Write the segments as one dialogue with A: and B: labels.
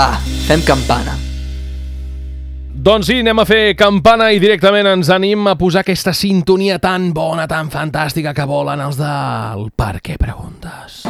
A: Va, fem campana.
B: Doncs sí, anem a fer campana i directament ens anim a posar aquesta sintonia tan bona, tan fantàstica que volen els del Per què preguntes.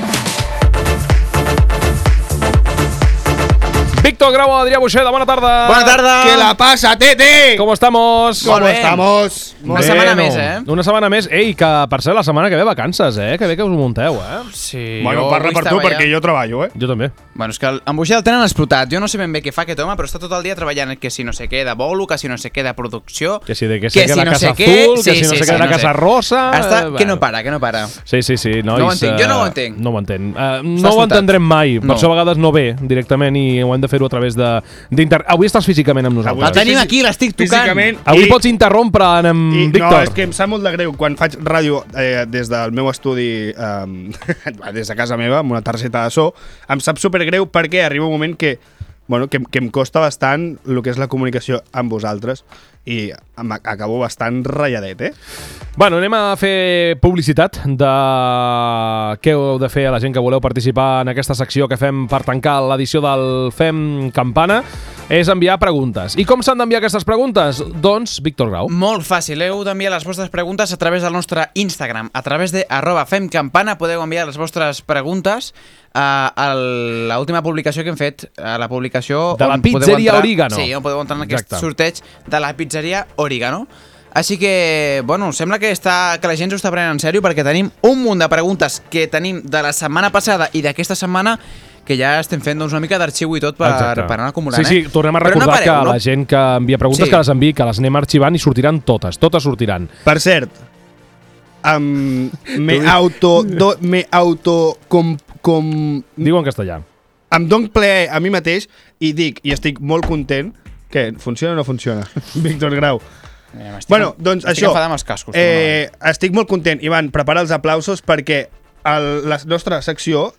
B: Víctor Grau, Adrià Buixeda, bona tarda.
C: Bona tarda.
D: ¿Qué la pasa, Tete?
B: Com estamos?
D: ¿Cómo estamos?
A: Una setmana més, eh?
B: Una setmana més. Ei, que per ser la setmana que ve vacances, eh? Que bé que us ho munteu, eh?
A: Sí.
D: Bueno,
A: jo
D: parla
A: vull
D: per tu,
A: treballar.
D: perquè jo treballo, eh?
B: Jo també.
A: Bueno, és que el- en Buixer el tenen explotat. Jo no sé ben bé què fa aquest home, però està tot el dia treballant que si no sé què de bolo, que si no sé què de producció...
B: Que si de que, que,
A: si
B: la
A: no
B: Casa
A: sé què...
B: Azul, que si no sé què de la Casa Rosa...
A: Està...
B: eh,
A: Que no
B: bueno.
A: para, que no para.
B: Sí, sí, sí. Nois,
A: No ho entenc, jo no ho
B: eh,
A: entenc.
B: No ho entenc. Uh, no ho
A: esgotat.
B: entendrem mai, per
A: No.
B: això a vegades no ve directament i ho hem de fer-ho a través de- d'inter... Avui estàs físicament amb nosaltres.
A: La
D: Avui-
A: tenim aquí, l'estic tocant.
D: Físicament
B: Avui
D: I-
B: pots interrompre en, en
D: I, no,
B: Mm, Víctor.
D: és que em sap molt de greu quan faig ràdio eh, des del meu estudi eh, des de casa meva amb una targeta de so, em sap supergreu perquè arriba un moment que bueno, que, em- que em costa bastant el que és la comunicació amb vosaltres i em ac- acabo bastant ratlladet, eh?
B: Bueno, anem a fer publicitat de què heu de fer a la gent que voleu participar en aquesta secció que fem per tancar l'edició del Fem Campana és enviar preguntes. I com s'han d'enviar aquestes preguntes? Doncs, Víctor Grau.
A: Molt fàcil, heu d'enviar les vostres preguntes a través del nostre Instagram. A través de arroba femcampana podeu enviar les vostres preguntes a, a l'última publicació que hem fet, a la publicació...
B: De la
A: on podeu
B: pizzeria
A: entrar-
B: Origano.
A: Sí, on podeu entrar en aquest
B: Exacte.
A: sorteig de la pizzeria Origano. Així que, bueno, sembla que, està, que la gent s'ho està prenent en sèrio perquè tenim un munt de preguntes que tenim de la setmana passada i d'aquesta setmana que ja estem fent doncs, una mica d'arxiu i tot per,
B: Exacte.
A: per anar acumulant.
B: Sí, sí,
A: eh?
B: tornem a
A: Però
B: recordar
A: pareu,
B: que la gent que envia preguntes
A: Sí.
B: que les enviï, que les anem arxivant i sortiran totes, totes sortiran.
D: Per cert, em, me auto... Do, me auto... Com, com,
A: Mm.
B: Diu en castellà.
D: em dono plaer a mi mateix i dic, i estic molt content, que funciona o no funciona? Víctor Grau.
A: Eh, m'estic-
D: Bueno, doncs
A: m'estic
D: això.
A: enfadat amb els cascos.
D: eh, estic molt content. Ivan, prepara els aplausos perquè el, la nostra secció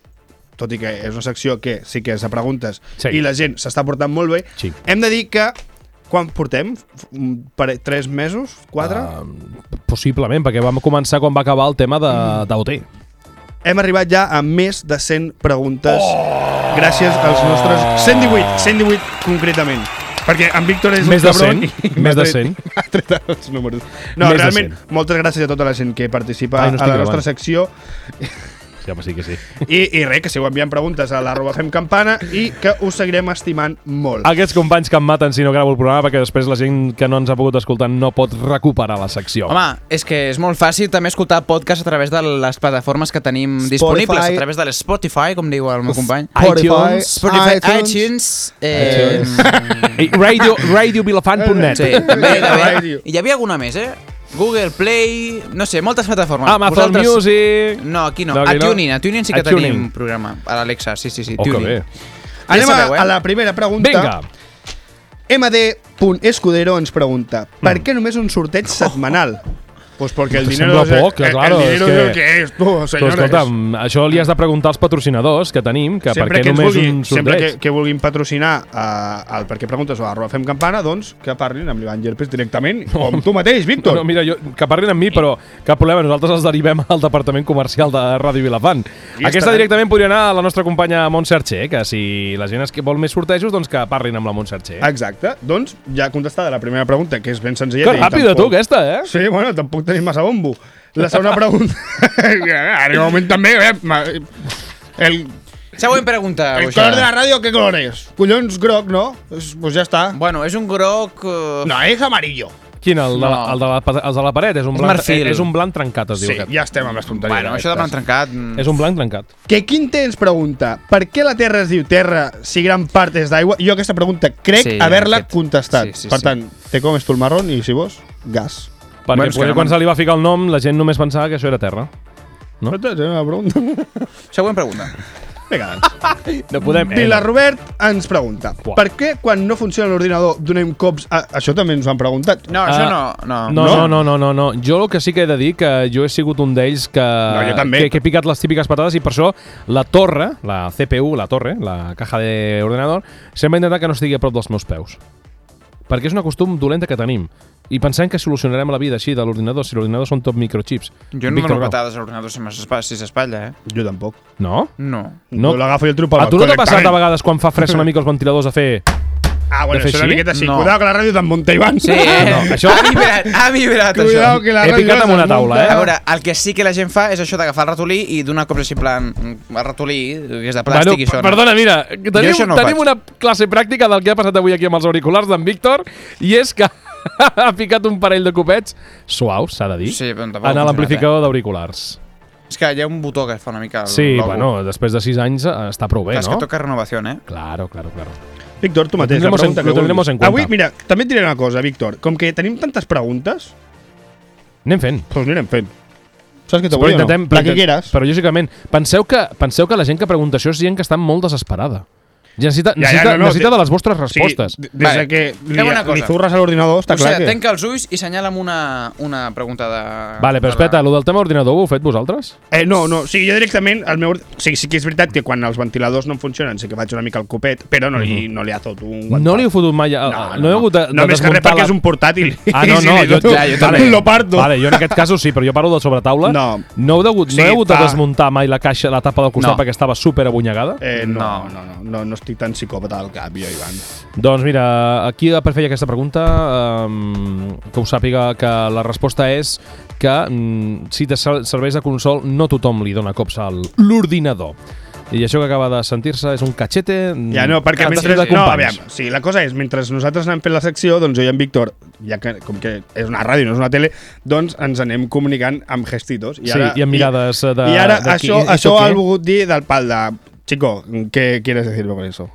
D: tot i que és una secció que sí que és de preguntes
B: Sí.
D: i la gent s'està portant molt bé,
B: Sí.
D: hem de dir que quan portem? F- un pare- Tres mesos? Quatre?
B: Ah. Possiblement, perquè vam començar quan va acabar el tema de-
A: Mm.
B: d'OT.
D: Hem arribat ja a més de 100 preguntes
B: Oh!
D: gràcies als nostres... 118, 118 concretament. Perquè en Víctor és
B: Més
D: un
B: de
D: cabron
B: 100,
D: i- i
B: més
D: m'ha
B: de
D: tret-
B: 100.
D: m'ha tret els números. No,
B: Més de
D: realment,
B: 100.
D: moltes gràcies a tota la gent que participa
B: Ai, no
D: a
B: estic
D: la
B: gravant.
D: nostra secció.
B: Ja, home, sí que sí.
D: I, I res, que sigo enviant preguntes a l'arroba fem campana i que us seguirem estimant molt.
B: Aquests companys que em maten si no gravo el programa, perquè després la gent que no ens ha pogut escoltar no pot recuperar la secció.
A: Home, és que és molt fàcil també escoltar podcast a través de les plataformes que tenim
D: Spotify.
A: disponibles, a través de l'Spotify, com diu el meu company.
B: Spotify,
A: Spotify, iTunes... eh,
B: I Radio, radiovilafant.net.
A: Sí, també, també.
D: Radio.
A: I hi havia alguna més, eh? Google Play... No sé, moltes plataformes.
B: Ah, Amazon Music...
A: No, aquí no.
B: No,
A: no
B: aquí
A: a
B: no.
A: TuneIn, a TuneIn sí que
B: A TuneIn.
A: tenim programa. A l'Alexa, sí, sí, sí.
B: Oh, que
A: TuneIn.
B: bé.
D: Anem
A: sabeu, eh?
D: a, a la primera pregunta.
B: Vinga,
D: MD.escudero ens pregunta per què només un sorteig setmanal? Mm. Pues porque el
B: Te
D: dinero...
B: sembla
D: es-
B: poc,
D: el-
B: claro,
D: el dinero
B: es que-
D: es lo que es, tu,
B: però
D: señores.
B: escolta'm, això li has de preguntar als patrocinadors que tenim, que
D: sempre
B: per
D: que
B: què
D: ens
B: només
D: vulgui,
B: un
D: sempre que,
B: sorteig.
D: que vulguin patrocinar eh, el Per què preguntes o arroba fem campana, doncs que parlin amb l'Ivan Gerpes directament o amb tu mateix, Víctor.
B: No, mira, jo, que parlin amb mi, però cap problema, nosaltres els derivem al departament comercial de Ràdio Vilafant.
D: Ja
B: Aquesta
D: està.
B: directament podria anar a la nostra companya Montse Archer, que si la gent es que vol més sortejos, doncs que parlin amb la Montse Archer.
A: Ah,
D: Exacte. Doncs ja contestada la primera pregunta, que és ben senzilla.
B: Que ràpida, tu, aquesta, eh?
D: Sí, bueno, tampoc tenim massa bombo. La segona pregunta... Arriba un moment també, eh? ma- El,
A: Següent pregunta,
D: el
A: Buixer.
D: color de la ràdio, què color és? Collons groc, no? Pues, pues ja està.
A: Bueno, és un groc... eh,
D: No, és amarillo.
B: Quin, el, de la,
A: No.
B: el, de la, el de la paret? És un,
A: És
B: blanc, eh,
A: marfil.
B: és un blanc trencat, es diu.
D: Sí,
B: aquest.
D: ja estem amb les tonteries.
A: Bueno, això de plan trencat... mm.
B: És un blanc trencat.
D: Que Quinte ens pregunta per què la Terra es diu Terra si gran part és d'aigua? Jo aquesta pregunta crec
A: Sí,
D: sí, haver-la
A: aquest- sí,
D: contestat. Sí,
A: sí,
D: sí, per
A: sí.
D: tant, te comes tu el marrón i si vos, gas.
B: Perquè
A: Bueno,
B: bueno,
A: és que
B: potser
A: no
B: quan
A: me'n-
B: se li va ficar el nom, la gent només pensava que això era terra. No?
D: No? Una pregunta.
A: Següent pregunta.
D: Vinga, doncs.
B: Eh, No podem...
D: Vilarrobert ens pregunta
B: Uau.
D: per què quan no funciona l'ordinador donem cops a... Això també ens ho han preguntat.
A: No, això no,
D: Ah,
A: no.
B: Ah, No, no, no, no, no, no. Jo el que sí que he de dir que jo he sigut un d'ells que,
D: No, jo també.
B: que, que he picat les típiques patades i per això la torre, la CPU, la torre, la caja d'ordenador, sempre he intentat que no estigui a prop dels meus peus. perquè és un costum dolenta que tenim. I pensem que solucionarem la vida així de l'ordinador, si l'ordinador són tot microchips.
A: Jo no
B: Víctor
A: dono
B: Grau.
A: patades a l'ordinador si m'espa- si s'espatlla, eh?
D: Jo tampoc.
B: No?
A: No.
B: No.
D: Jo l'agafo i el trupo
B: A tu no t'ha passat a
D: correctament.
B: vegades quan fa fresa una mica els ventiladors a fer...
D: Ah,
B: de
D: bueno,
B: fer
D: això una
B: així?
D: miqueta sí.
A: No.
D: Cuidao que la ràdio te'n munta, Ivan.
A: Sí, eh?
B: Ah, No, això-
A: Ha vibrat, ha vibrat
D: Cuidao
A: això.
D: que la
B: He
D: ràdio
B: picat amb
D: te'n
B: una taula,
D: munta.
B: eh?
A: A veure, el que sí que la gent fa és això d'agafar el ratolí i d'una cop així en plan, mm, el ratolí, que és de plàstic i
B: per-
A: sona.
B: perdona, mira, que tenim,
A: això no ho
B: tenim
A: faig.
B: una classe pràctica del que ha passat avui aquí amb els auriculars d'en Víctor i és que ha picat un parell de copets suaus, s'ha de dir,
A: Sí, però tampoc
B: en
A: ha funcionat,
B: l'amplificador d'auriculars.
A: És que hi ha un botó que fa una mica... el
B: Sí,
A: logo.
B: bueno, després de 6 anys eh, està prou bé,
A: Clar, és que
B: no?
A: toca renovació, eh?
B: Claro, claro, claro.
D: Víctor, tu mateix, la
B: tendremos en-
D: pregunta
B: lo
D: que
B: tendremos
D: vulguis.
B: en cuenta.
D: Avui, mira, també et diré una cosa, Víctor. Com que tenim tantes preguntes,
B: Anem fent.
D: doncs anirem fent. Saps què te
B: Però
D: vull o no?
B: intentem...
D: La que
B: intent-
D: quieras.
B: Però lògicament, penseu que, penseu que la gent que pregunta això és gent que està molt desesperada. Ja necessita,
D: Ja, ja,
B: necessita,
D: no, no,
B: necessita
D: de-
B: de les vostres
D: Sí,
B: respostes.
D: d- des
A: Vale.
D: de que li,
A: Fem una
D: li
A: cosa.
D: zurres a l'ordinador, està
A: O sigui,
D: clar que...
A: tanca els ulls i senyala'm una, una pregunta de...
B: Vale, però
A: de la-
B: espera, lo del tema ordinador ho heu fet vosaltres?
D: Eh, no, no, sí, jo directament el meu... Sí, sí que és veritat que quan els ventiladors no em funcionen sí que vaig una mica al copet, però no li, no li ha tot un guantat.
B: Mhm. No li heu fotut mai... A, no, no, he hagut de, de
D: no, més que res
B: desmuntar
D: perquè
B: la-
D: és un portàtil.
B: Ah, no,
D: I si
B: no,
D: li
B: jo,
D: dono-
A: Ja, jo també.
D: Lo parto.
B: Vale, jo en aquest casos sí, però jo parlo del sobretaula.
D: No.
B: No heu, degut,
D: Sí,
B: no heu hagut de
D: fa-
B: desmuntar mai la caixa, la tapa del costat
A: No.
B: perquè estava super abunyegada?
D: Eh,
A: No.
D: no, no, no, no, no, no estic tan psicòpata al cap, jo, Ivan.
B: Doncs mira, aquí per fer aquesta pregunta, um, que ho sàpiga que la resposta és que mm, si te ser- serveix de consol no tothom li dona cops a l'ordinador. I això que acaba de sentir-se és un cachete... mm,
D: Ja no, perquè
B: que t'ha
D: mentre...
B: fet de
D: No,
B: companys.
D: aviam, sí, la cosa és, mentre nosaltres anem fent la secció, doncs jo i en Víctor, ja que, com que és una ràdio, no és una tele, doncs ens anem comunicant amb gestitos. I
B: Sí,
D: ara,
B: i amb mirades eh, de...
D: I ara
B: de qui-
D: això,
B: i tu
D: això
B: què?
D: ha volgut dir del pal de... Chico, ¿qué quieres decirme con eso?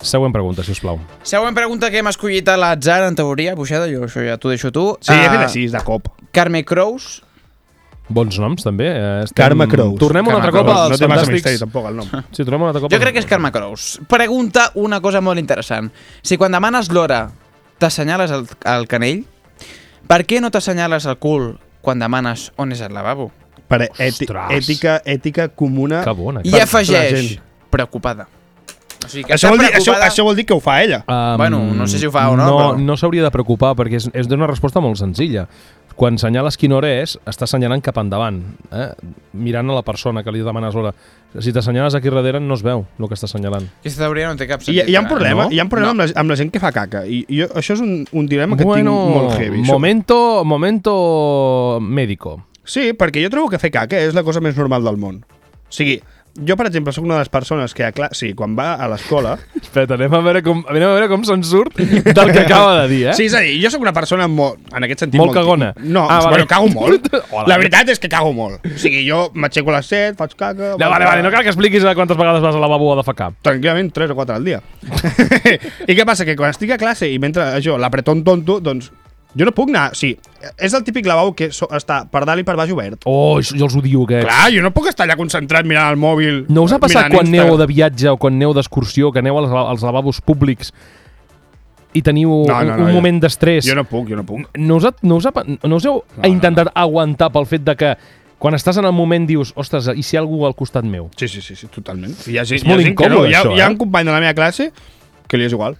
B: Següent pregunta, si us plau.
A: Següent pregunta que hem escollit a l'atzar, en teoria, Buixada, jo això ja t'ho deixo tu.
D: Sí, he fet
A: Ah,
D: així, de cop.
A: Carme Crows,
B: Bons noms, també. eh, Estem...
D: Mm. Karma Crows.
B: Tornem un
A: Karma
B: altre cop
A: Crows.
B: als
D: no té massa misteri,
B: fantàstics.
D: tampoc, el nom.
B: Sí, tornem un altre cop
A: jo crec que és Carme Crows, pregunta una cosa molt interessant. Si quan demanes l'hora t'assenyales el, el canell, per què no t'assenyales el cul quan demanes on és el lavabo?
D: Per eti
B: Ostres.
D: ètica, ètica comuna.
B: Que bona.
A: I
B: clar.
A: afegeix,
D: gent.
A: preocupada. O sigui, que està
D: Això vol, dir, això,
A: preocupada-
D: això vol dir que ho fa ella.
B: Um,
A: Bueno, no sé si ho fa o no,
B: No,
A: però-
B: no s'hauria de preocupar, perquè és, és d'una resposta molt senzilla. Quan senyales quina hora és, està assenyalant cap endavant, eh? mirant a la persona que li demanes hora. Si t'assenyales aquí darrere, no es veu el que està assenyalant.
A: Aquesta teoria no té cap
D: Hi,
A: sentit.
D: hi ha un
A: eh?
D: problema,
B: No?
D: hi ha un problema amb, la, amb la gent que fa caca. I jo, això és un, un dilema que tinc molt heavy. això.
B: momento, momento médico.
D: Sí, perquè jo trobo que fer caca és la cosa més normal del món. O sigui, jo, per exemple, sóc una de les persones que a classe, sí, quan va a l'escola...
B: Espera, anem a veure com, anem a veure com se'n surt del que acaba de dir, eh?
D: Sí, és a dir, jo sóc una persona molt, en aquest sentit...
B: Molt cagona.
D: No,
B: Ah,
D: ah,
B: vale.
D: bueno, cago molt.
B: Hola.
D: la veritat és que cago molt. O sigui, jo m'aixeco a les 7, faig caca...
B: No, vale, vale, no cal que expliquis a quantes vegades vas a la babua de facar.
D: tranquil·lament 3 o 4 al dia. I què passa? Que quan estic a classe i mentre jo l'apretón tonto, doncs jo no puc anar... Sí, és el típic lavabo que so, està per dalt i per baix obert.
B: Oh, jo els odio, aquests.
D: Clar, jo no puc estar allà concentrat mirant el mòbil.
B: No us ha passat
D: mirant
B: quan
D: Instagram.
B: aneu de viatge o quan aneu d'excursió, que aneu als, als lavabos públics i teniu no, no, no, un
D: jo-
B: moment d'estrès?
D: Jo no puc, jo no puc.
B: No us, ha, no, us ha, pa- no us heu no, intentat no. aguantar pel fet de que quan estàs en el moment dius, ostres, i si hi ha algú al costat meu?
D: Sí, sí, sí, sí totalment. Hi ha, gent-
B: És molt
D: hi ha gent que
B: incòmode,
D: hi, ha,
B: això,
D: hi ha
B: eh?
D: un company de la meva classe que li és igual.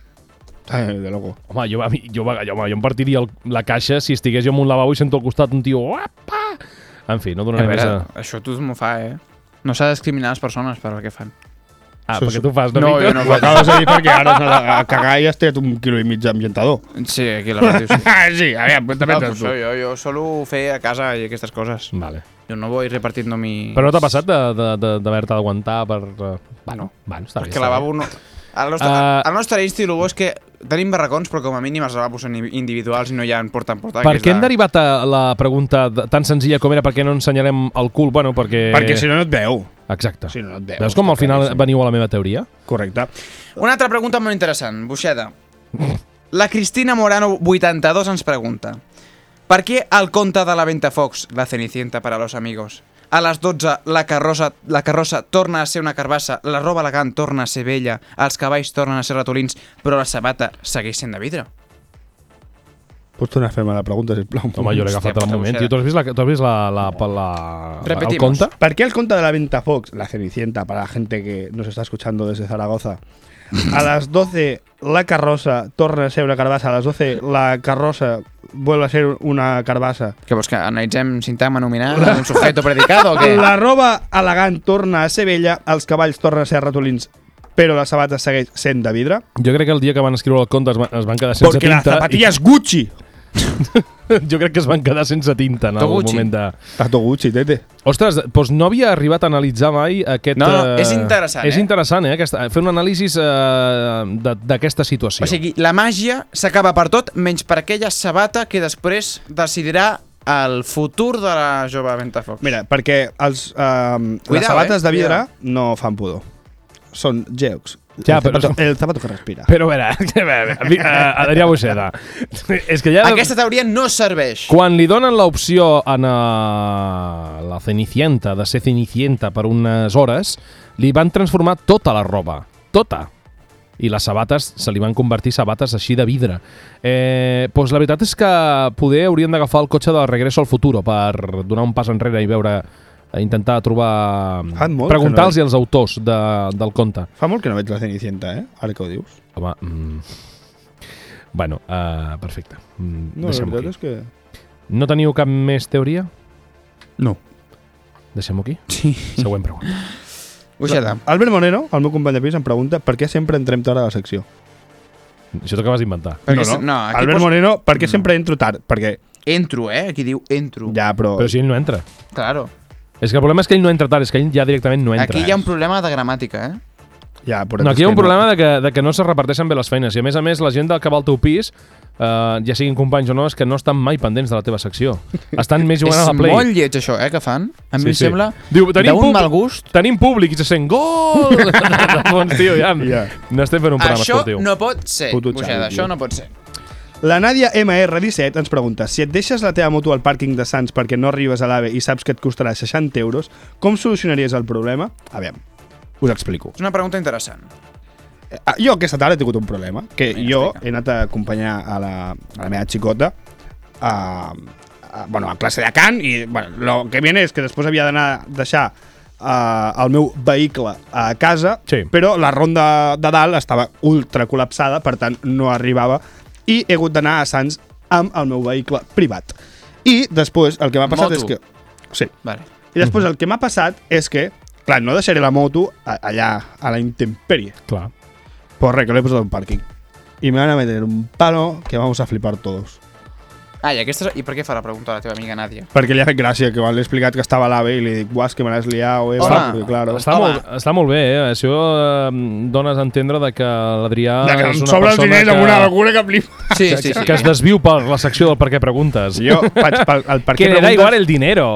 D: Ai, de loco.
B: Home, jo, a mi- jo, a- jo, home, jo em partiria el, la caixa si estigués jo en un lavabo i sento al costat un tio... Apa! En fi, no
A: A
B: donaré més
A: veure,
B: a...
A: això tothom ho fa, eh? No s'ha de discriminar les persones per el que fan.
B: Ah,
D: Això
B: perquè
D: és-
B: tu ho fas, no,
A: No,
B: Víctor?
A: jo no
D: Ho acabes de dir perquè ara has anat a cagar i has tret un quilo i mig d'ambientador.
A: Sí, aquí la ràdio sí.
D: Ah, sí, aviam, però també
A: No,
D: tens
A: pues
D: tu.
A: yo, yo solo fer a casa y estas cosas.
B: Vale.
A: Yo no voy repartiendo mi...
B: Però no t'ha passat de- de- de- d'haver-te d'aguantar per... eh, Bueno,
A: No.
B: bueno, està bé.
A: És que
B: està bé.
A: lavabo no... El nostre,
B: Ah.
A: el nostre estil bo és que tenim barracons, però com a mínim els lavabos són individuals i no hi ha porta en porta.
B: Per
A: que és
B: què hem
A: la-
B: derivat a la pregunta de- tan senzilla com era per què no ensenyarem el cul? Bueno, perquè...
D: Perquè si no, no et veu.
B: Exacte.
D: Si no, no et veus.
B: Veus com al final veniu a la meva teoria?
A: Mm-hmm.
D: Correcte.
A: Una altra pregunta molt interessant, Buixeda. La Cristina Morano, 82, ens pregunta Per què el conte de la Ventafocs, la Cenicienta para los amigos? A les 12, la carrossa, la carrossa torna a ser una carbassa, la roba elegant torna a ser vella, els cavalls tornen a ser ratolins, però la sabata segueix sent de vidre.
D: Pots tornar a fer-me la pregunta, sisplau?
B: Home, jo l'he agafat
A: puta
B: al moment.
A: buixeda.
B: Tio, tu has vist, la, tu has vist la, la, la, la, el
A: Repetimos.
B: conte?
D: ¿Por qué el conte de la venta Fox, la Cenicienta, para la gente que nos está escuchando desde Zaragoza, A las 12 la carroza torna a ser una carbassa. A las 12 la carroza vuelve a ser una carbassa.
A: Que vols que analitzem sintagma nominal un sujeto predicado o què?
D: La roba elegant torna a ser vella, els cavalls tornen a ser ratolins, però la sabata segueix sent de vidre.
B: Jo crec que el dia que van escriure el conte es, va- es van quedar sense
D: Porque la
B: tinta.
D: zapatilla es Gucci.
B: i Jo crec que es van quedar sense tinta en algun
A: Toguchi.
B: moment de...
D: Tato Gucci, tete.
B: Ostres, doncs no havia arribat a analitzar mai aquest...
A: No, no,
B: eh,
A: és interessant,
B: És
A: eh?
B: interessant, eh? Aquesta, fer un anàlisi eh, de- d'aquesta situació.
A: O sigui, la màgia s'acaba per tot, menys per aquella sabata que després decidirà el futur de la jove Ventafoc.
D: Mira, perquè els, um, les
A: Cuidao,
D: sabates
A: eh?
D: de vidre
A: Cuidao.
D: no fan pudor. Són geocs.
B: Ja,
D: el,
B: però-
D: zapato, el zapato que respira.
B: Però a veure, a veure, a veure, a- Adrià Boixeda. és que ja...
A: Aquesta teoria no serveix.
B: Quan li donen l'opció a la Cenicienta, de ser Cenicienta per unes hores, li van transformar tota la roba. Tota. I les sabates se li van convertir sabates així de vidre. Eh, doncs la veritat és que poder haurien d'agafar el cotxe de Regreso al Futuro per donar un pas enrere i veure eh, intentar trobar...
D: Fa Ah, molt que
B: Preguntar-los
D: no
B: als autors de, del conte.
D: Fa molt que no veig la Cenicienta, eh? Ara que ho dius.
B: Home, mm, bueno, eh, perfecte. Mm,
D: No, la
B: deixem-ho
D: veritat
B: aquí.
D: és que...
B: No teniu cap més teoria?
A: No.
B: Deixem-ho aquí?
A: Sí.
B: Següent pregunta.
A: Boixeda.
D: Albert Moreno, el meu company de pis, em pregunta per què sempre entrem tard a la secció.
B: Això t'ho acabes d'inventar.
A: Perquè
D: no,
A: se- no, aquí
D: Albert
A: pos-
D: Moreno, per què sempre entro tard? Perquè,
A: Entro, eh? Aquí diu entro.
D: ja, però...
B: Però si ell no entra.
A: Claro.
B: És que el problema és que ell no entra tard, és que ell ja directament no entra.
A: Aquí hi ha un problema de gramàtica, eh?
D: ja, però
B: No, aquí hi ha
D: és
B: un
D: que
B: problema de que, de que no se reparteixen bé les feines. I a més a més, la gent del que va al teu pis, eh, ja siguin companys o no, és que no estan mai pendents de la teva secció. Estan més jugant a
A: és
B: la Play.
A: molt lleig, això, eh, que fan. A mi
B: Sí,
A: em
B: sí.
A: sembla
B: Diu, tenim
A: d'un
B: pub-
A: mal gust.
B: Tenim públic i se sent gol! Fons, tio, ja.
D: Ja.
B: N'estem fent un programa
A: Això
B: esportiu.
A: no pot ser,
D: Puto
A: Boixeda,
D: Xavi,
A: això
D: tio.
A: no pot ser.
D: La Nàdia MR17 ens pregunta si et deixes la teva moto al pàrquing de Sants perquè no arribes a l'AVE i saps que et costarà 60 euros, com solucionaries el problema? A veure, us explico.
A: És una pregunta interessant.
D: Eh, ah, Jo aquesta tarda he tingut un problema, que
A: Vinga,
D: jo
A: explica.
D: he anat a acompanyar a la, a la meva xicota a, a, bueno, a classe de cant i bueno, lo que viene és que després havia d'anar a deixar eh, el meu vehicle a casa,
B: Sí.
D: però la ronda de dalt estava ultra col·lapsada, per tant no arribava i he hagut d'anar a Sants amb el meu vehicle privat. I després el que m'ha passat
A: Moto.
D: és que... Sí,
A: Vale.
D: i després el que m'ha passat és que, clar, no deixaré la moto a- allà a la intempèrie.
B: Clar.
D: Pues re, que lo he puesto en un parking. Y me van a meter un palo que vamos a flipar todos.
A: Ah, i, aquesta... I per què fa la pregunta a la teva amiga Nàdia?
D: Perquè li ha fet gràcia que quan l'he explicat que estava a l'AVE i li dic, guas, que me l'has liado, eh?
A: Home,
D: perquè, claro.
B: Està
A: Home.
B: molt, està molt bé, eh? Això eh, dones a entendre de que l'Adrià
D: De que
B: és
D: em
B: una
D: sobra els
B: persona
D: diners
B: que,
D: amb una locura que flipa.
A: Sí, sí, sí.
B: que es desviu per la secció del Per què preguntes.
D: Jo, faig pel, el per
B: que
D: què
B: le da
D: preguntes-
B: igual el dinero.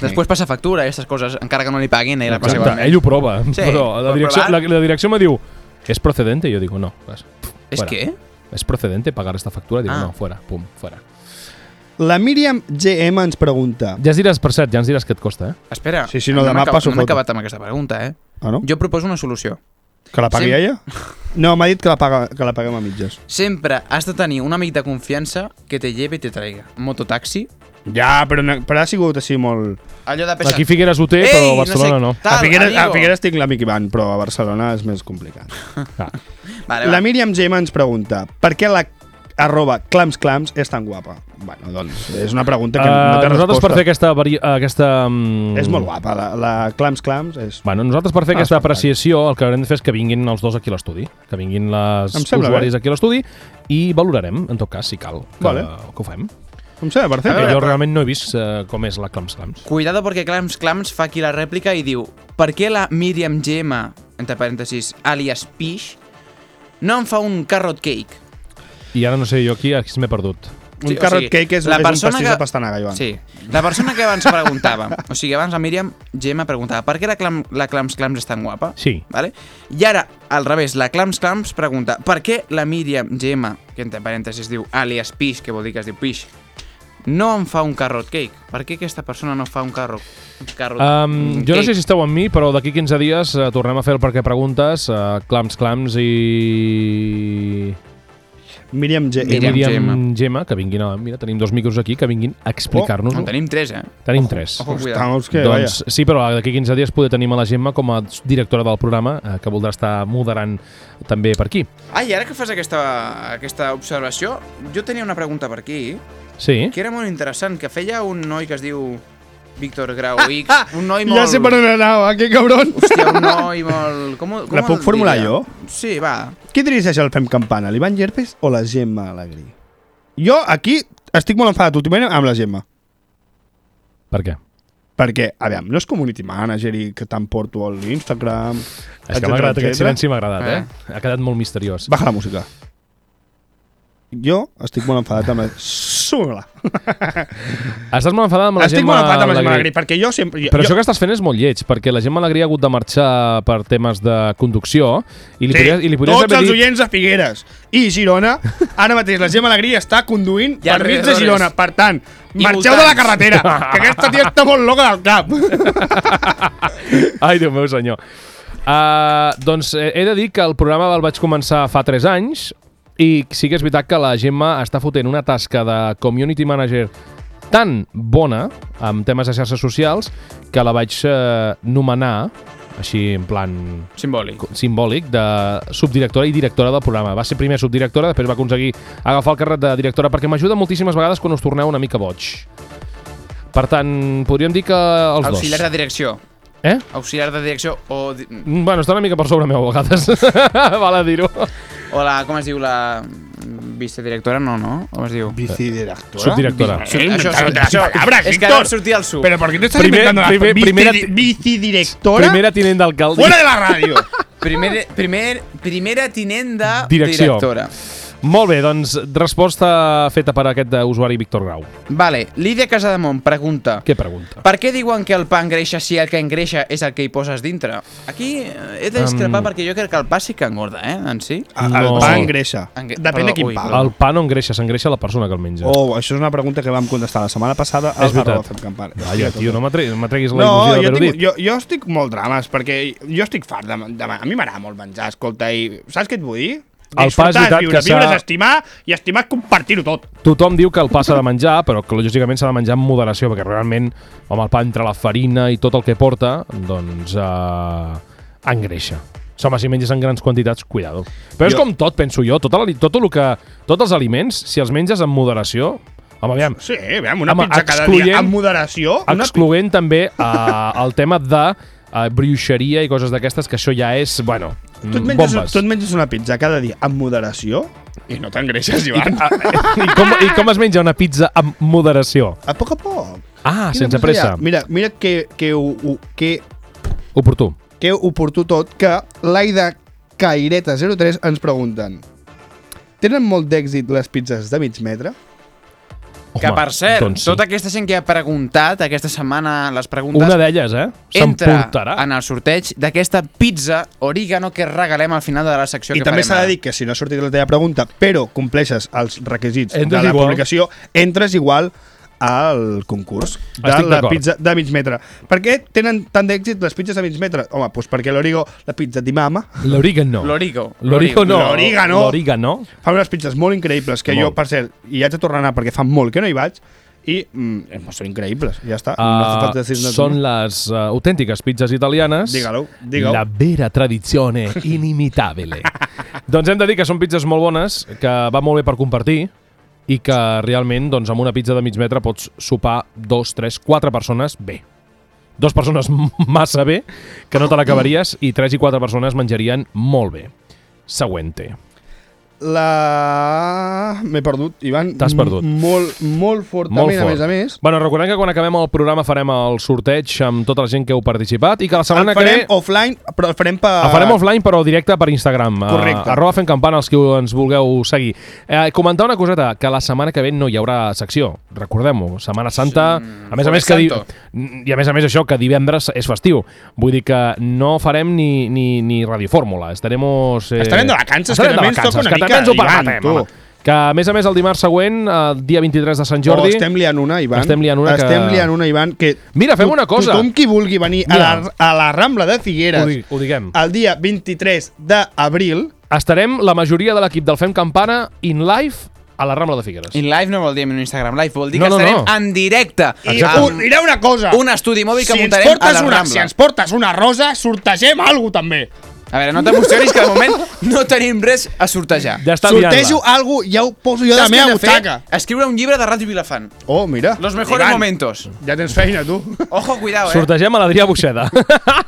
A: Després passa factura i aquestes coses, encara que no li paguin, ell la passa
B: Exacte,
A: igualment.
B: ell ho prova.
A: Sí,
B: però la
A: pot
B: direcció, la,
A: provar.
B: la direcció me diu, ¿es procedente? I jo dic, no. Pues, pff,
A: És
B: fuera.
A: que?
B: ¿Es procedente pagar esta factura? Diu,
A: Ah.
B: no, fuera, pum, fuera.
D: La Míriam GM ens pregunta...
B: Ja ens diràs, per cert, ja ens diràs què et costa, eh?
A: Espera,
D: Sí, sí, no, demà
A: m'he acabat-
D: passo
A: no m'he
D: foto.
A: acabat amb aquesta pregunta, eh?
D: Ah, no?
A: Jo proposo una solució.
D: Que la pagui
A: Sí.
D: ella? No, m'ha dit que la, paga, que la paguem a mitges.
A: Sempre has de tenir un amic de confiança que te lleve i te traiga. Mototaxi,
D: Ja, però, no, però ha sigut així molt...
A: allò de pesar...
B: Aquí Figueres ho té, però Barcelona no.
A: Tal,
D: a, Figueres, a
A: amigo.
D: Figueres tinc l'amic Ivan, però a Barcelona és més complicat.
B: Ah.
A: Vale,
D: La
A: va.
D: Míriam Gemma ens pregunta per què la arroba clamsclams és tan guapa? Bueno, doncs, és una pregunta que no
B: Eh,
D: té
B: nosaltres
D: resposta.
B: per fer aquesta... Vari... aquesta mm,
D: És molt guapa, la, la clamsclams és...
B: Bueno, nosaltres per fer
D: Ah,
B: aquesta
D: espectacle.
B: apreciació el que haurem de fer és que vinguin els dos aquí a l'estudi, que vinguin les
D: Em sembla
B: usuaris aquí a l'estudi i valorarem, en tot cas, si cal, que,
D: Vale.
B: que ho fem.
D: Em sembla
A: A
D: perfecte.
A: veure,
B: Que jo
A: però-
B: realment no he vist eh, com és la Clams Clams.
A: Cuidado perquè Clams Clams fa aquí la rèplica i diu per què la Miriam Gemma, entre parèntesis, alias Pish, no em fa un carrot cake?
B: I ara no sé, jo aquí, aquí m'he perdut.
D: Un carrot cake és- és un pastís de pastanaga, Joan.
A: Sí. La persona que abans preguntava, o sigui, abans la Míriam Gemma preguntava per què la, clam, la Clams Clams és tan guapa?
B: Sí.
A: Vale? I ara, al revés, la Clams Clams pregunta per què la Míriam Gemma, que entre parèntesis diu alias Pish, que vol dir que es diu Pish, no em fa un carrot cake? Per què aquesta persona no fa un carrot, un carrot
B: Um, jo no sé
A: cake?
B: si esteu amb mi, però d'aquí 15 dies eh, tornem a fer el perquè preguntes, eh, clams, clams i...
D: Míriam G.
A: Míriam
B: Míriam Gemma.
A: Gemma.
B: que vinguin a... Mira, tenim dos micros aquí que vinguin a explicar-nos.
A: En tenim tres, eh?
B: tenim tres.
A: Ojo, cuidado.
D: Estamos que,
B: doncs
D: doncs...
B: sí, però d'aquí 15 dies poder tenim a la Gemma com a directora del programa, eh, que voldrà estar moderant també per aquí.
A: Ah, i ara que fas aquesta, aquesta observació, jo tenia una pregunta per aquí,
B: Sí.
A: que era molt interessant, que feia un noi que es diu Víctor Grau X, un noi
D: vaya.
A: molt...
D: Ja sé per on anava, que cabron.
A: Hòstia, un noi molt... Com, ho- com
D: La puc
A: el
D: formular
A: diria?
D: jo?
A: Sí, va.
D: Qui dirigeix el Fem Campana, l'Ivan Gerpes o la Gemma Alegrí? Jo aquí estic molt enfadat últimament amb la Gemma.
B: Per què?
D: Perquè, a veure, no és community manager i que tant porto a l'Instagram...
B: És que
D: etcètera,
B: m'ha agradat aquest
D: etcètera.
B: silenci, m'ha agradat, eh? Ha quedat molt misteriós.
D: Baja la música. Jo estic molt enfadat amb la... Suma-la.
B: Estàs molt enfadat amb la
D: Estic
B: Gemma
D: molt enfadat amb la Gemma
B: Alegrí.
D: Alegrí, perquè jo sempre... Jo,
B: Però això
D: jo,
B: que estàs fent és molt lleig, perquè la Gemma Alegria ha hagut de marxar per temes de conducció i li
D: sí,
B: podries, i li podries
D: tots
B: haver
D: els
B: dit...
D: oients de Figueres i Girona, ara mateix la Gemma Alegrí està
A: I
D: conduint per mig de
A: alrededores.
D: Girona. Per tant,
A: I
D: marxeu de la
A: voltants.
D: carretera, que aquesta tia està molt loca del cap.
B: Ai, Déu meu senyor. Uh, doncs eh, he de dir que el programa el vaig començar fa 3 anys i sí que és veritat que la Gemma està fotent una tasca de community manager tan bona amb temes de xarxes socials que la vaig eh, nomenar així en plan
A: Simbòlic.
B: simbòlic de subdirectora i directora del programa. Va ser primer subdirectora, després va aconseguir agafar el càrrec de directora, perquè m'ajuda moltíssimes vegades quan us torneu una mica boig. Per tant, podríem dir que els
A: Auxiliar de
B: dos.
A: direcció.
B: Eh?
A: Auxiliar de direcció o... di-
B: Mm, Bueno, està una mica per sobre meu a vegades, val a dir-ho.
A: O la... Com es diu la... Vicedirectora? No, no? Com es diu?
D: Vicedirectora.
B: Subdirectora.
A: Sí,
D: Això,
A: això-
D: això, cabra,
A: és que
D: Víctor.
A: ara em sortia el sub.
D: Però per què no estàs
B: Primer-
D: inventando
B: primer-
D: la
B: primera-
D: Vici- vicedirectora?
B: Primera tinent d'alcalde.
D: Fuera de la ràdio.
A: Primer, primer, primera tinent de
B: Direcció.
A: directora.
B: Molt bé, doncs resposta feta per aquest eh, usuari Víctor Grau.
A: Vale, Lídia Casademont pregunta...
B: Què pregunta?
A: Per què diuen que el pa engreixa si el que engreixa és el que hi poses dintre? Aquí eh, he de discrepar
B: Em-
A: perquè jo crec que el pa sí que engorda, eh, en si.
D: El
B: No.
D: pa engreixa.
A: Engre-
D: Depèn de
A: Perdó,
D: quin
A: oh, ui,
D: pa.
A: perdó.
B: El pa no engreixa, s'engreixa la persona que el menja.
D: Oh, això és una pregunta que vam contestar la setmana passada al
B: és veritat.
D: Arroba Fem Campana.
B: Vaja, tio, no m'atre- no m'atreguis la
D: No,
B: il·lusió
D: jo,
B: d'haver-ho
D: tinc,
B: dit.
D: jo, jo estic molt drames, perquè jo estic fart de, de a mi m'agrada molt menjar, escolta, i saps què et vull dir?
B: El pa és
D: Disfrutar,
B: veritat
D: viure,
B: que s'ha-
D: viure és estimar i estimar és compartir-ho tot.
B: Tothom diu que el pa s'ha de menjar, però que lògicament s'ha de menjar amb moderació, perquè realment, amb el pa entre la farina i tot el que porta, doncs eh, engreixa. So, Home, si menges en grans quantitats, cuidado. Però és
D: Jo-
B: com tot, penso jo. Tot, el, tot el que, tots els aliments, si els menges amb moderació... Home, aviam,
D: Sí, veiem, una
B: Home,
D: pizza cada dia,
B: excloent-
D: amb moderació, una
B: excloent també eh, el tema de eh, bruixeria i coses d'aquestes, que això ja és, bueno,
D: Tu et,
B: mm,
D: menges,
B: bombes.
D: tu et menges una pizza cada dia amb moderació i no t'engreixes, Ivan. I, a,
B: I, com, I com es menja una pizza amb moderació?
D: a poc a poc.
B: Ah,
D: Quina
B: sense pressa.
D: Mira, mira que, que, ho- ho- que,
B: Oportú.
D: que oportú tot que l'Aida Caireta03 ens pregunten Tenen molt d'èxit les pizzas de mig metre?
A: Que, per cert,
B: doncs sí.
A: tota aquesta gent que ha preguntat aquesta setmana les preguntes
B: Una d'elles, eh?
A: entra
B: S'emportarà.
D: Ah,
A: en el sorteig d'aquesta pizza origano que regalem al final de la secció
D: I
A: que
D: també
A: farem
D: s'ha
A: ara.
D: de dir que si no ha sortit la teva pregunta, però compleixes els requisits
B: Entres
D: de la
B: igual.
D: publicació, entres igual al concurs de
B: Estic
D: la
B: d'acord.
D: pizza de mig metre. Per què tenen tant d'èxit les pizzas de mig metre? Home, doncs perquè l'Origo, la pizza di mama,
B: L'origano.
A: L'origo.
B: L'origano.
D: L'origano.
B: L'origano.
D: fa unes pizzas molt increïbles que jo,
B: Molt.
D: per cert, hi haig de tornar a anar perquè fa molt que no hi vaig i mm, eh, són increïbles, ja està. no fa
B: Uh,
D: falta dir-ne
B: són
D: tu.
B: les uh, autèntiques pizzas italianes.
D: Digue-lo, digue-ho.
B: La vera tradizione inimitabile. doncs hem de dir que són pizzas molt bones, que va molt bé per compartir i que realment doncs, amb una pizza de mig metre pots sopar dos, tres, quatre persones bé. Dos persones massa bé, que no te l'acabaries, i tres i quatre persones menjarien molt bé. Següente.
D: La... M'he perdut, Ivan.
B: T'has perdut.
D: M- Molt, molt fortament, a més a més.
B: Bueno, recordem que quan acabem el programa farem el sorteig amb tota la gent que heu participat i que la setmana
D: el farem
B: que ve...
D: offline, però el farem per...
B: El farem offline, però directe per Instagram.
D: Correcte.
B: Eh, arroba fent campana, els que ens vulgueu seguir. Eh, comentar una coseta, que la setmana que ve no hi haurà secció. Recordem-ho, Setmana Santa... a més a més que di...
A: Santo.
B: I a més a més això, que divendres és festiu. Vull dir que no farem ni, ni, ni radiofórmula. Estaremos... Eh...
D: Estarem de vacances,
B: estarem
D: que
B: de
D: també ens toca
B: vacances,
D: una
B: que
D: mica,
B: també ens ho
D: Ivan,
B: permetem,
D: tu.
B: home. Que, a més a més, el dimarts següent, el dia 23 de Sant Jordi...
D: O estem liant una, Ivan.
B: Estem liant una que-
D: estem liant una, Ivan, que...
B: Mira, fem
D: to-
B: una cosa.
D: Tothom qui vulgui venir a la,
B: Mira.
D: a la Rambla de Figueres
B: Ho, di ho diguem.
D: el dia 23 d'abril
B: Estarem la majoria de l'equip del Fem Campana in live a la Rambla de Figueres.
A: In live no vol dir en Instagram live, vol dir
B: No,
A: que
B: no,
A: estarem
B: no.
A: en directe.
D: I
A: amb
D: un, diré una cosa.
A: un estudi mòbil que
D: si ens
A: muntarem a
D: portes
A: la
D: una,
A: Rambla.
D: Si ens portes una rosa, sortegem alguna també.
A: A veure, no t'emocionis, que de moment no tenim res a sortejar.
B: Ja està
D: Sortejo
B: enviant-la.
D: alguna ja ho poso jo de la
A: Saps què
D: meva
A: hem de fer?
D: butaca.
A: Escriure un llibre de Ràdio Vilafant.
D: Oh, mira.
A: Los mejores
D: Ivan,
A: momentos.
D: Ja tens feina, tu.
A: Ojo, cuidado, eh?
B: Sortegem a l'Adrià Buxeda.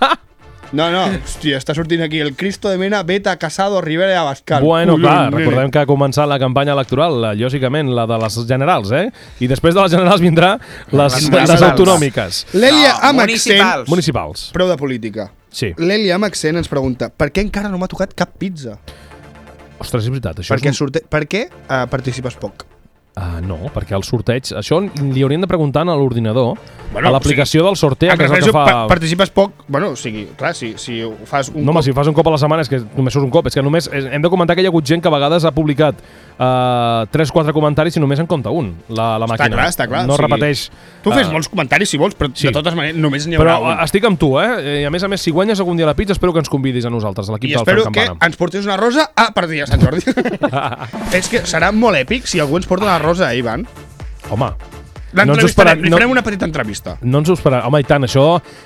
D: No, no, hòstia, està sortint aquí el Cristo de Mena, Beta, Casado, Rivera i Abascal.
B: bueno,
D: Ui,
B: clar,
D: ui, ui.
B: recordem que ha començat la campanya electoral, la- lògicament, la de les generals, eh? I després de les generals vindrà les,
A: Les
B: les,
A: municipals.
B: autonòmiques.
D: L'Elia
A: No,
D: amb accent...
A: municipals.
B: Municipals.
D: Prou de política.
B: Sí.
D: L'Elia amb accent ens pregunta per què encara no m'ha tocat cap pizza?
B: Ostres, és veritat. Això
D: Per què,
B: és un...
D: sorte... per què eh, participes poc?
B: Ah, no, perquè el sorteig... Això li haurien de preguntar a l'ordinador, bueno,
D: Bueno,
B: a l'aplicació del sorteig,
D: Em
B: que és el que
D: refereixo,
B: fa...
D: Ah, pa- Participes poc... Bueno, o sigui, clar, si, si ho fas un
B: No, home,
D: cop...
B: si ho fas un cop a la setmana és que només surt un cop. És que només... és- Hem de comentar que hi ha hagut gent que a vegades ha publicat eh, 3-4 comentaris i només en compta un, la, la màquina.
D: Està clar, està clar.
B: No
D: o sigui,
B: repeteix...
D: Tu fes
B: eh,
D: molts comentaris, si vols, però
B: sí.
D: de totes maneres només n'hi haurà
B: Però
D: un.
B: estic amb tu, eh? I a més a més, si guanyes algun dia la pizza, espero que ens convidis a nosaltres, a l'equip
D: I
B: del Fem
D: espero que
B: Campana.
D: ens portis una rosa a partir de Sant Jordi. És que serà molt èpic si algú ens porta una rosa, eh, Ivan.
B: Home, No ens ho esperem,
D: L'entrevistarem, li
B: no-
D: farem una petita entrevista.
B: no ens ho esperàvem. Home, i tant, això...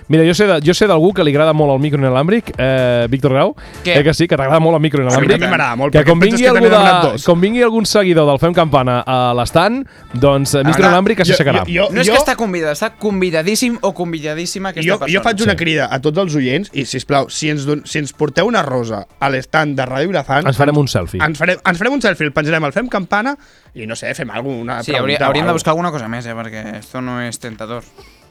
B: Mira, jo sé de- jo sé d'algú que li agrada molt el micro inelàmbric, eh, Víctor Grau.
A: Què?
B: Eh, que sí, que t'agrada molt el micro
D: A mi
B: inelàmbric.
D: també m'agrada molt,
B: que
D: perquè
B: com
D: penses
B: vingui,
D: que
B: algú
D: també n'han
B: de,
D: donat dos.
B: com vingui algun seguidor del Fem Campana a l'estant, doncs eh, micro
D: Ara,
B: inelàmbric
D: jo-
B: s'aixecarà.
D: jo-
A: No és que està convidada, està convidadíssim o convidadíssima aquesta
D: Jo,
A: persona.
D: jo faig una crida a tots els oients i, si plau, si ens, don, si ens porteu una rosa a l'estand de Ràdio Vilafant...
B: Ens farem un selfie.
D: Ens farem, ens farem un selfie, el penjarem al Fem Campana i, no sé, fem alguna
A: Sí,
D: pregunta
A: hauria,
D: o
A: hauríem de
D: alguna.
A: buscar alguna cosa més, eh? Perquè esto no és tentador.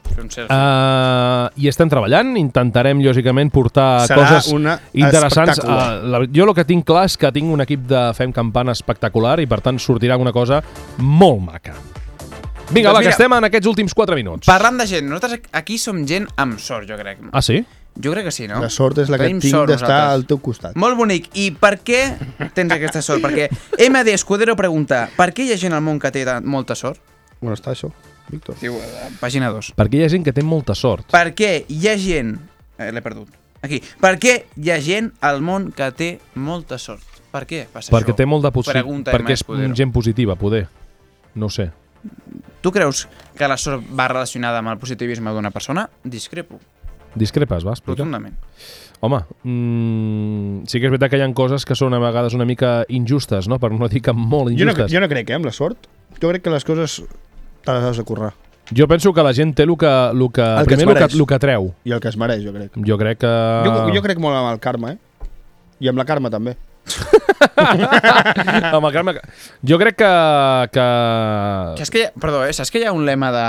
A: Fer un selfie.
B: Uh, I estem treballant, intentarem lògicament portar
D: Serà
B: coses
D: una
B: interessants. Uh,
D: espectacular.
B: la, jo el que tinc clar és que tinc un equip de Fem Campana espectacular i per tant sortirà una cosa molt maca. Vinga,
A: Doncs
B: va, que
A: mira-
B: estem en aquests últims 4 minuts.
A: Parlant de gent, nosaltres aquí som gent amb sort, jo crec.
B: Ah, sí?
A: Jo crec que sí, no?
D: La sort és la que
A: Tenim
D: tinc
A: sort
D: d'estar
A: nosaltres.
D: al teu costat.
A: Molt bonic. I per què tens aquesta sort? Perquè MD Escudero pregunta per què hi ha gent al món que té tan- molta sort?
D: Bueno, està això, Víctor.
A: Diu, eh, pàgina 2.
B: Perquè hi ha gent que té molta sort.
A: Per què hi ha gent... Eh, L'he perdut. Aquí. Per què hi ha gent al món que té molta sort? Per què passa
B: Perquè
A: això?
B: té molt de possibilitat.
A: Pregunta
B: Perquè
A: Emma
B: és
A: Escudero.
B: gent positiva, poder. No ho sé.
A: Tu creus que la sort va relacionada amb el positivisme d'una persona? Discrepo,
B: Discrepes, va, explica.
A: rotundament.
B: Home, mm, sí que és veritat que hi ha coses que són a vegades una mica injustes, no? Per no dir que molt
D: Jo no,
B: injustes.
D: jo no crec, eh, amb la sort. Jo crec que les coses te les has de currar.
B: Jo penso que la gent té el que, lo que,
D: El
B: primer
D: que
B: el
D: es
B: que,
D: mereix.
B: lo que treu.
D: I el que es mereix, jo crec.
B: Jo crec que...
D: Jo, jo crec molt amb el Carme, eh? I amb la Carme, també.
B: Amb el Carme... Jo crec que... que...
A: Saps que hi ha, perdó, eh? Saps que hi ha un lema de,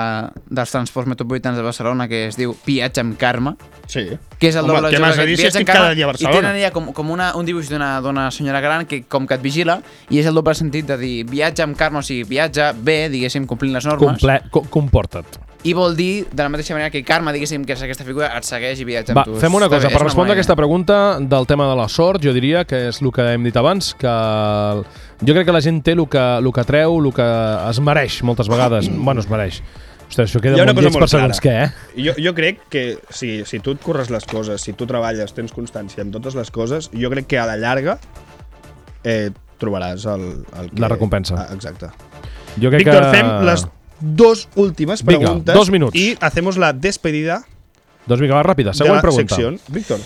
A: dels transports metropolitans de Barcelona que es diu Viatge amb Carme?
D: Sí.
A: Que és el
D: Home,
A: doble
D: què
A: joc
D: m'has de
A: aquest,
D: dir si
A: Viatge amb
D: estic cada
A: Carme,
D: dia a
A: I
D: Barcelona?
A: tenen allà com, com una, un dibuix d'una dona senyora gran que com que et vigila i és el doble sentit de dir viatge amb Carme, o sigui, viatja bé, diguéssim, complint les normes.
B: Comple... Co comporta't.
A: I vol dir, de la mateixa manera que Carme, diguéssim, que és aquesta figura, et segueix i viatja amb
B: Va,
A: tu.
B: fem una
A: Està
B: cosa.
A: bé,
B: Per
A: és una
B: respondre a
A: bona
B: aquesta
A: idea.
B: pregunta del tema de la sort, jo diria que és el que hem dit abans, que el- jo crec que la gent té el que, el que treu, el que es mereix moltes vegades. bueno, es mereix. Ostres, això queda molt lleig per segons què, eh?
D: Jo, jo crec que si, si tu et curres les coses, si tu treballes, tens constància en totes les coses, jo crec que a la llarga eh, trobaràs el, el que...
B: La recompensa.
D: Ah, exacte.
B: Jo crec
D: Víctor,
B: que...
D: fem les dos últimes
B: Vinga,
D: preguntes.
B: dos minuts.
D: I hacemos la despedida
B: Doncs vinga, va, ràpida.
D: de
B: Següent
D: la
B: pregunta.
D: secció. Víctor.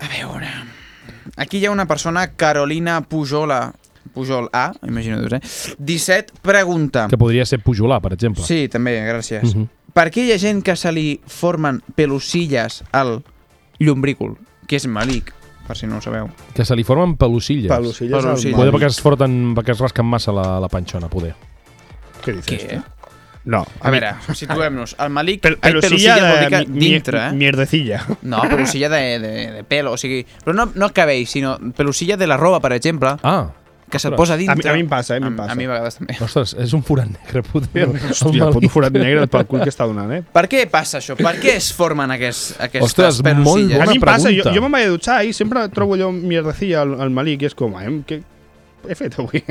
A: A veure... Aquí hi ha una persona, Carolina Pujola, Pujol A, imagino dius, eh? 17, pregunta...
B: Que podria ser Pujolar, per exemple.
A: Sí, també, gràcies.
B: Mhm.
A: Per què hi ha gent que se li formen pelucilles al llombrícul, que és malic, per si no ho sabeu?
B: Que se li formen pelucilles.
D: Pelucillas al
A: Pelucillas.
D: mal.
B: Poder perquè es forten, perquè es rasquen massa la, la panxona, poder.
D: Què dices?
A: Què?
D: No.
A: A veure, situem-nos. El malic,
D: Pel
A: ai,
D: pelucilla
A: vol dir
D: de
A: que dintre, eh?
D: mierdecilla.
A: No, pelucilla de, de, de pelo, o sigui... Però no, no el cabell, sinó pelucilla de la roba, per exemple,
B: Ah,
A: que se't posa dintre.
D: A mi- a mi em passa, eh, a mi em passa.
A: A, a mi a vegades també.
B: ostres, és un forat negre, poder.
D: Hòstia, pot un forat negre pel cul que està donant, eh?
A: Per què passa això? Per què es formen aquests, aquestes
B: Ostres, molt
A: pelucilles?
B: bona
D: a mi em passa, jo,
B: pregunta.
D: jo me'n vaig a dutxar i sempre trobo allò mierdecilla al, al malic i és com, eh, què he fet avui?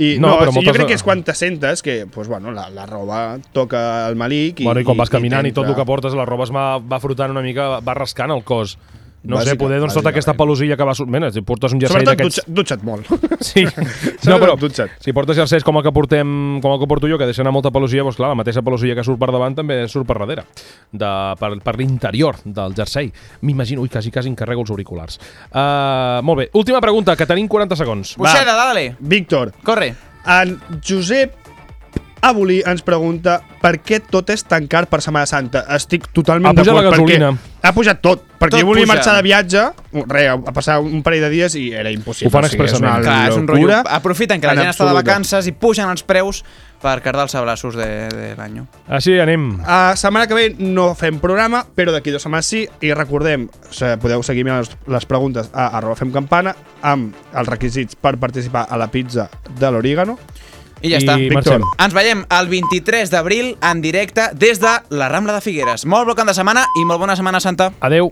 D: I,
B: No,
D: no,
B: però
D: o sigui,
B: moltes
D: jo crec que
B: vegades-
D: és quan te sentes que pues, bueno, la, la roba toca el malic i,
B: Bueno, i quan vas caminant i, tot el
D: t'entra.
B: que portes, la roba es va, va frotant una mica, va rascant el cos. No sé,
D: Bàsica-
B: poder, doncs, tota
D: bàsicament.
B: aquesta pelusilla que va sortint... Si portes un jersei
D: Sobretot
B: d'aquests...
D: dutxa, dutxa't molt.
B: Sí.
D: Sobretot dutxa't.
B: si portes jerseis com el que portem, com el que porto jo, que deixa anar molta pelusilla, doncs clar, la mateixa pelusilla que surt per davant també surt per darrere, de, per, per l'interior del jersei. M'imagino, ui, quasi, quasi encarrego els auriculars. Uh, molt bé, última pregunta, que tenim 40 segons.
D: Va.
A: Buxeda, dale.
D: Víctor,
A: Corre.
D: en Josep Abolí ens pregunta per què tot és tan car per Setmana Santa. Estic
B: Ha
D: totalment
B: pujat la
D: d'acord. perquè
B: gasolina.
D: Ha pujat tot. Perquè
A: Tot
D: jo volia
A: puja.
D: marxar de viatge, re, a passar un parell de dies i era impossible.
B: Ho fan
D: O sigui, és
B: expressament.
D: una
A: Clar, és un
D: locura
A: rotllo. Aprofiten que la
D: en
A: gent està de
D: absoluta.
A: vacances i pugen els preus per cardar-se braços de, de l'any.
B: Així anem.
D: Uh, setmana que ve no fem programa, però d'aquí dues setmanes sí. I recordem, se- podeu seguir mirant les, les preguntes a arroba fem campana amb els requisits per participar a la pizza de l'Origano.
A: I ja està.
B: I
D: Víctor.
B: marxem.
A: Ens veiem el 23 d'abril en directe des de la Rambla de Figueres. Molt bon cap de setmana i molt bona setmana santa.
B: Adeu.